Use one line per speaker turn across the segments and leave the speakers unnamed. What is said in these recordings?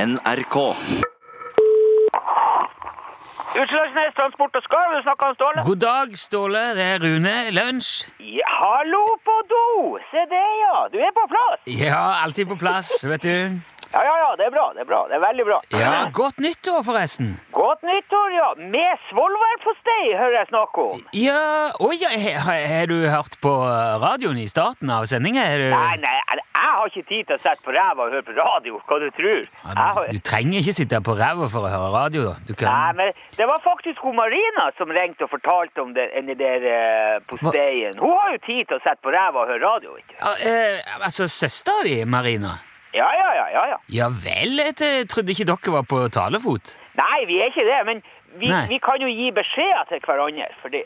NRK.
Utslagsnes Transport og Skarv, du snakker om Ståle?
God dag, Ståle. Det er Rune. Lunsj.
Ja, hallo på do! Se det, ja! Du er på plass!
Ja, alltid på plass, vet du.
Ja, ja, ja, det er bra, det er bra. Det er veldig bra.
Ja, Godt nyttår, forresten.
Godt nyttår, ja! Med svolværpostei, hører jeg snakk om.
Ja Å ja, he- he- har du hørt på radioen i starten av sendinga?
Nei, nei, jeg jeg har ikke tid til å sette på ræva og høre på radio, hva du tror. Jeg har...
Du trenger ikke sitte på ræva for å høre radio. da. Du
Nei,
kan...
men det var faktisk hun Marina som ringte og fortalte om det, den der eh, posteien. Hun har jo tid til å sette på ræva og høre radio, ikke sant?
Ja, eh, altså, søstera di, Marina?
Ja, ja, ja, ja, ja.
Ja vel, jeg t- trodde ikke dere var på talefot.
Nei, vi er ikke det, men vi,
Nei.
vi kan jo gi beskjeder til hverandre for det.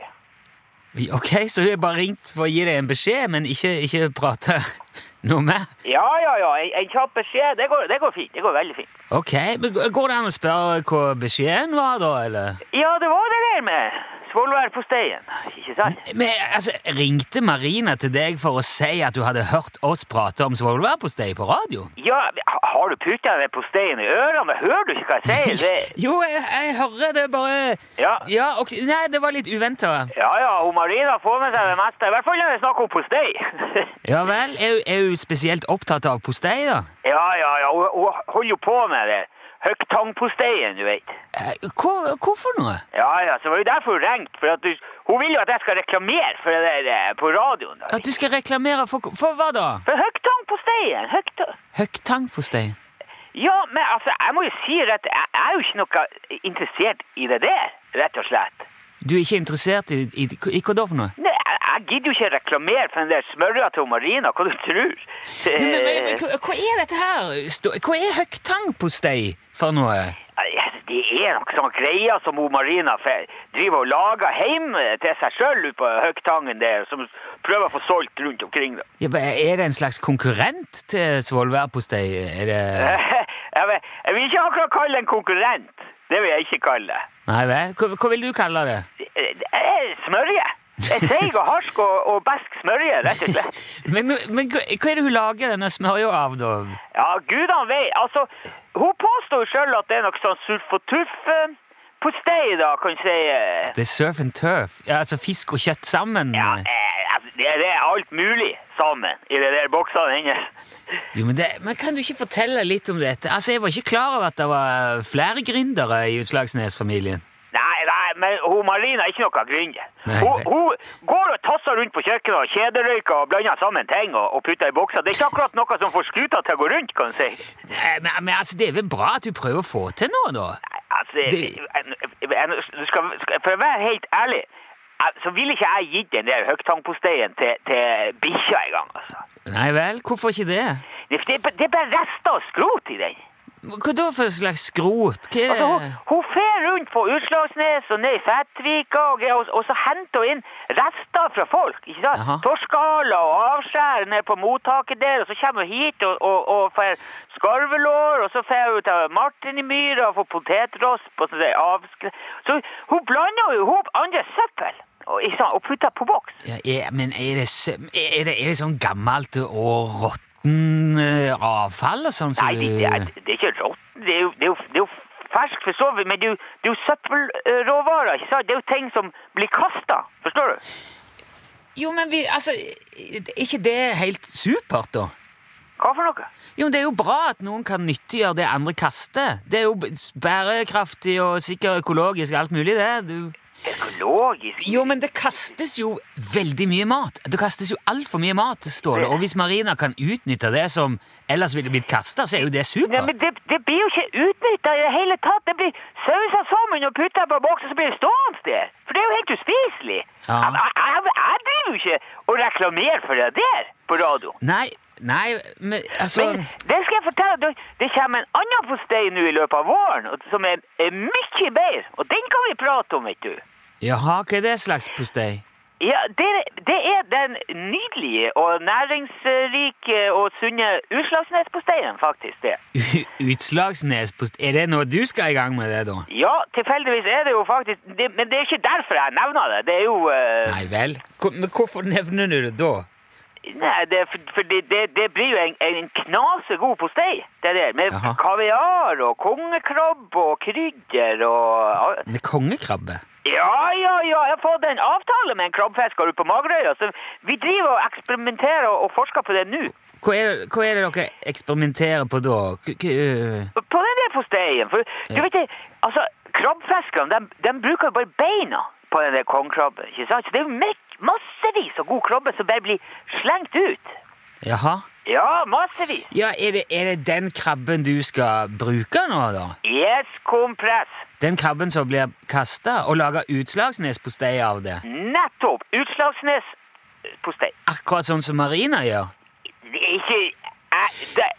Ok, Så hun har bare ringt for å gi deg en beskjed, men ikke, ikke prate noe mer?
Ja, ja, ja, en, en kjapp beskjed, det går, det går fint, det går veldig fint.
Ok, men g- Går det an å spørre hva beskjeden var, da? eller?
Ja, det var det der med Svolvær på steien, ikke sant?
Men altså, Ringte Marina til deg for å si at du hadde hørt oss prate om svolværpostei på radio?
Ja, men ha- har du putta det på steien i ørene? Hører du ikke hva jeg sier? Det,
jo, jeg, jeg hører det bare
Ja.
ok, Nei, det var litt uventa.
ja, ja, hun Marina får med seg det meste, i hvert fall når det er snakk om postei.
Ja vel? Er, hun- er hun spesielt opptatt av postei, da?
ja, ja, ja, hun, hun holder jo på med det. Høgtangposteien, du vet.
Eh, Hvor, hvorfor noe?
Ja, ja, så det var jo derfor hun ringte, for at du, hun vil jo at jeg skal reklamere for det der eh, på radioen. da.
At du skal reklamere for For hva da?
For høgtangposteien, høgtang...
Høgtangpostei?
Ja, men altså, jeg må jo si at jeg jeg er jo ikke noe interessert i det der, rett og slett.
Du er ikke interessert i, i, i hva da for noe?
Nei, jeg, jeg gidder jo ikke reklamere for den der smørja til Marina, hva du tror.
Nei, men, men, men,
Eh,
hva- hva er dette her? Stå- Hva er høgtangpostei for noe?
Eh, Det er noen sånne greier som hun Marina fe- driver og lager hjemme til seg sjøl ute på Høgtangen der, som prøver å få solgt rundt omkring. da.
Ja, men er det en slags konkurrent til svolværpostei? Er det
Jeg vil- jeg vil ikke akkurat kalle det en konkurrent. Det vil jeg ikke kalle det.
Nei vel? Hva, hva vil du kalle det?
det. det er Smørje. Det er Seig og harsk og, og besk smørje, rett og slett.
Men, men hva hva er det hun lager denne smørja av, da?
Ja, gudene vet. Altså, hun påstår jo sjøl at det er noe sånn surf og tuff eh, på stei, da, kan du si. eh.
Det er surf and turf. Ja, altså fisk og kjøtt sammen?
Ja, eh, altså, det det er alt mulig sammen i de der boksene hennes.
Jo, men, det, men Kan du ikke fortelle litt om dette? Altså, Jeg var ikke klar over at det var flere gründere i Utslagsnes-familien.
Nei, nei, men hun Marina er ikke noe gründer.
Nei,
Hun,
nei.
hun går og tasser rundt på kjøkkenet og kjederøyker og blander sammen ting og, og putter i bokser. Det er ikke akkurat noe som får skuta til å gå rundt, kan du si.
Nei, Men, men altså, det er vel bra at du prøver å få til noe, da?
Nei, Altså,
Det-
jeg- jeg- du skal, skal, for å være helt ærlig, jeg- så ville ikke jeg gitt den der høgtangposteien til, til bikkja engang. Altså.
Nei vel? Hvorfor ikke det?
Det, det, er bare- det er bare rester og skrot i den.
Hva da for slags skrot? Hva er
Altså, hun,
det?
hun fer rundt på Utslagsnes og ned i Fettvika og, greier, og, og så henter hun inn rester fra folk. ikke sant?
Jaha.
Torskala og avskjær ned på mottaket der, og så kommer hun hit og, og, og får skarvelår, og så får hun til Martin i myra og får potetrosp og sånn avskre... Så hun blander jo ihop andre søppel og, ikke sant, og putter på boks.
Ja, er, men er det, sø- er, det, er det sånn gammelt og råtten eh, avfall og sånn? som
Nei, det, det, er,
du-
det er ikke rått. Det er jo, det er jo, det er jo ferskt for så vidt, men det er jo, det er jo søppelråvarer, ikke sant? Det er jo ting som blir kasta, forstår du?
Jo, men vi, altså, er ikke det helt supert, da?
Hva for noe?
Jo, men Det er jo bra at noen kan nyttiggjøre det andre kaster. Det er jo b- bærekraftig og sikkert økologisk alt mulig, det. Du...
Økologisk?
Jo, men det kastes jo veldig mye mat. Det kastes jo altfor mye mat, Ståle. Og hvis Marina kan utnytte det som ellers ville blitt kasta, så er jo det
Nei,
supert.
men det, det blir jo ikke utnytta i det hele tatt. Det blir sausa sammen og putta på boks, og så blir det stående der. For det er jo helt uspiselig.
Ja.
Jeg, jeg, jeg, jeg driver jo ikke og reklamerer for det der på radio.
Nei, nei, men altså
Men det skal jeg fortelle deg, det kommer en annen postei nå i løpet av våren og- som er, er mye bedre, og den kan vi prate om, vet du.
Jaha, hva er det slags postei?
Ja, det, det er den nydelige og næringsrike og sunne Utslagsnesposteien, faktisk, det.
U- Utslagsnespost Er det nå du skal i gang med det, da?
Ja, tilfeldigvis er det jo faktisk det, Men det er ikke derfor jeg nevner det. Det er jo eh,
Nei vel? Hvor- Men hvorfor nevner du det da?
Nei, det, for, for det, det, det blir jo en, en knasegod postei, det der. Med
Jaha.
kaviar og kongekrabbe og krydder og
Med kongekrabbe?
Ja, ja, ja, jeg har fått en avtale med en krabbefisker ute på Magerøya, så vi driver og eksperimenterer og, og forsker på det nå.
Hva er, hva er det dere eksperimenterer på da? K k øh,
På den der posteien, for du
Ja.
vet det, altså, krabbefiskerne, de, de bruker jo bare beina på den der kongekrabben, ikke sant? Så det er jo mek- massevis av god krabbe som bare blir slengt ut.
jaha.
Ja, massevis.
Ja, er det, er det den krabben du skal bruke nå, da?
Yes, kompress.
Den krabben som blir kasta og laga utslagsnespostei av det?
Nettopp. Utslagsnes eh, postei.
Akkurat sånn som Marina gjør?
Det er ikke jeg, det,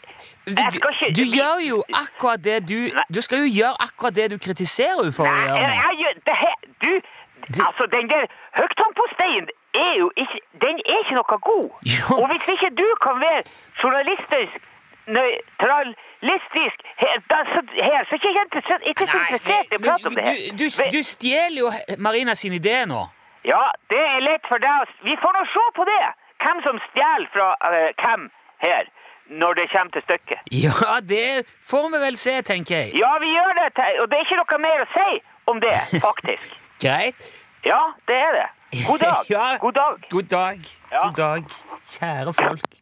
Du,
jeg skal ikke
du gjør jo akkurat det du
Nei.
Du skal jo gjøre akkurat det du kritiserer henne for å
Nei,
gjøre.
jeg,
nå.
jeg gjør det her, Du,
Det-
altså, den der høgtannposteien er jo ikke Den er ikke noe god.
Jo.
Og hvis ikke du kan være journalistisk nøytralistisk her, da, så, her, så er ikke jeg interessert, ikke så interessert i å
men
prate om det her.
du, du,
Men-
du stjeler jo Marina sin idé nå.
Ja, det er lett for deg. å s- Vi får nå se på det. Hvem som stjeler fra eh, hvem her, når det kommer til stykket.
Ja, det får vi vel se, tenker jeg.
Ja, vi gjør det, Terje, og det er ikke noe mer å si om det, faktisk.
Greit.
Ja, det er det. God dag.
Ja.
God dag.
God dag.
Ja.
God dag, kjære folk.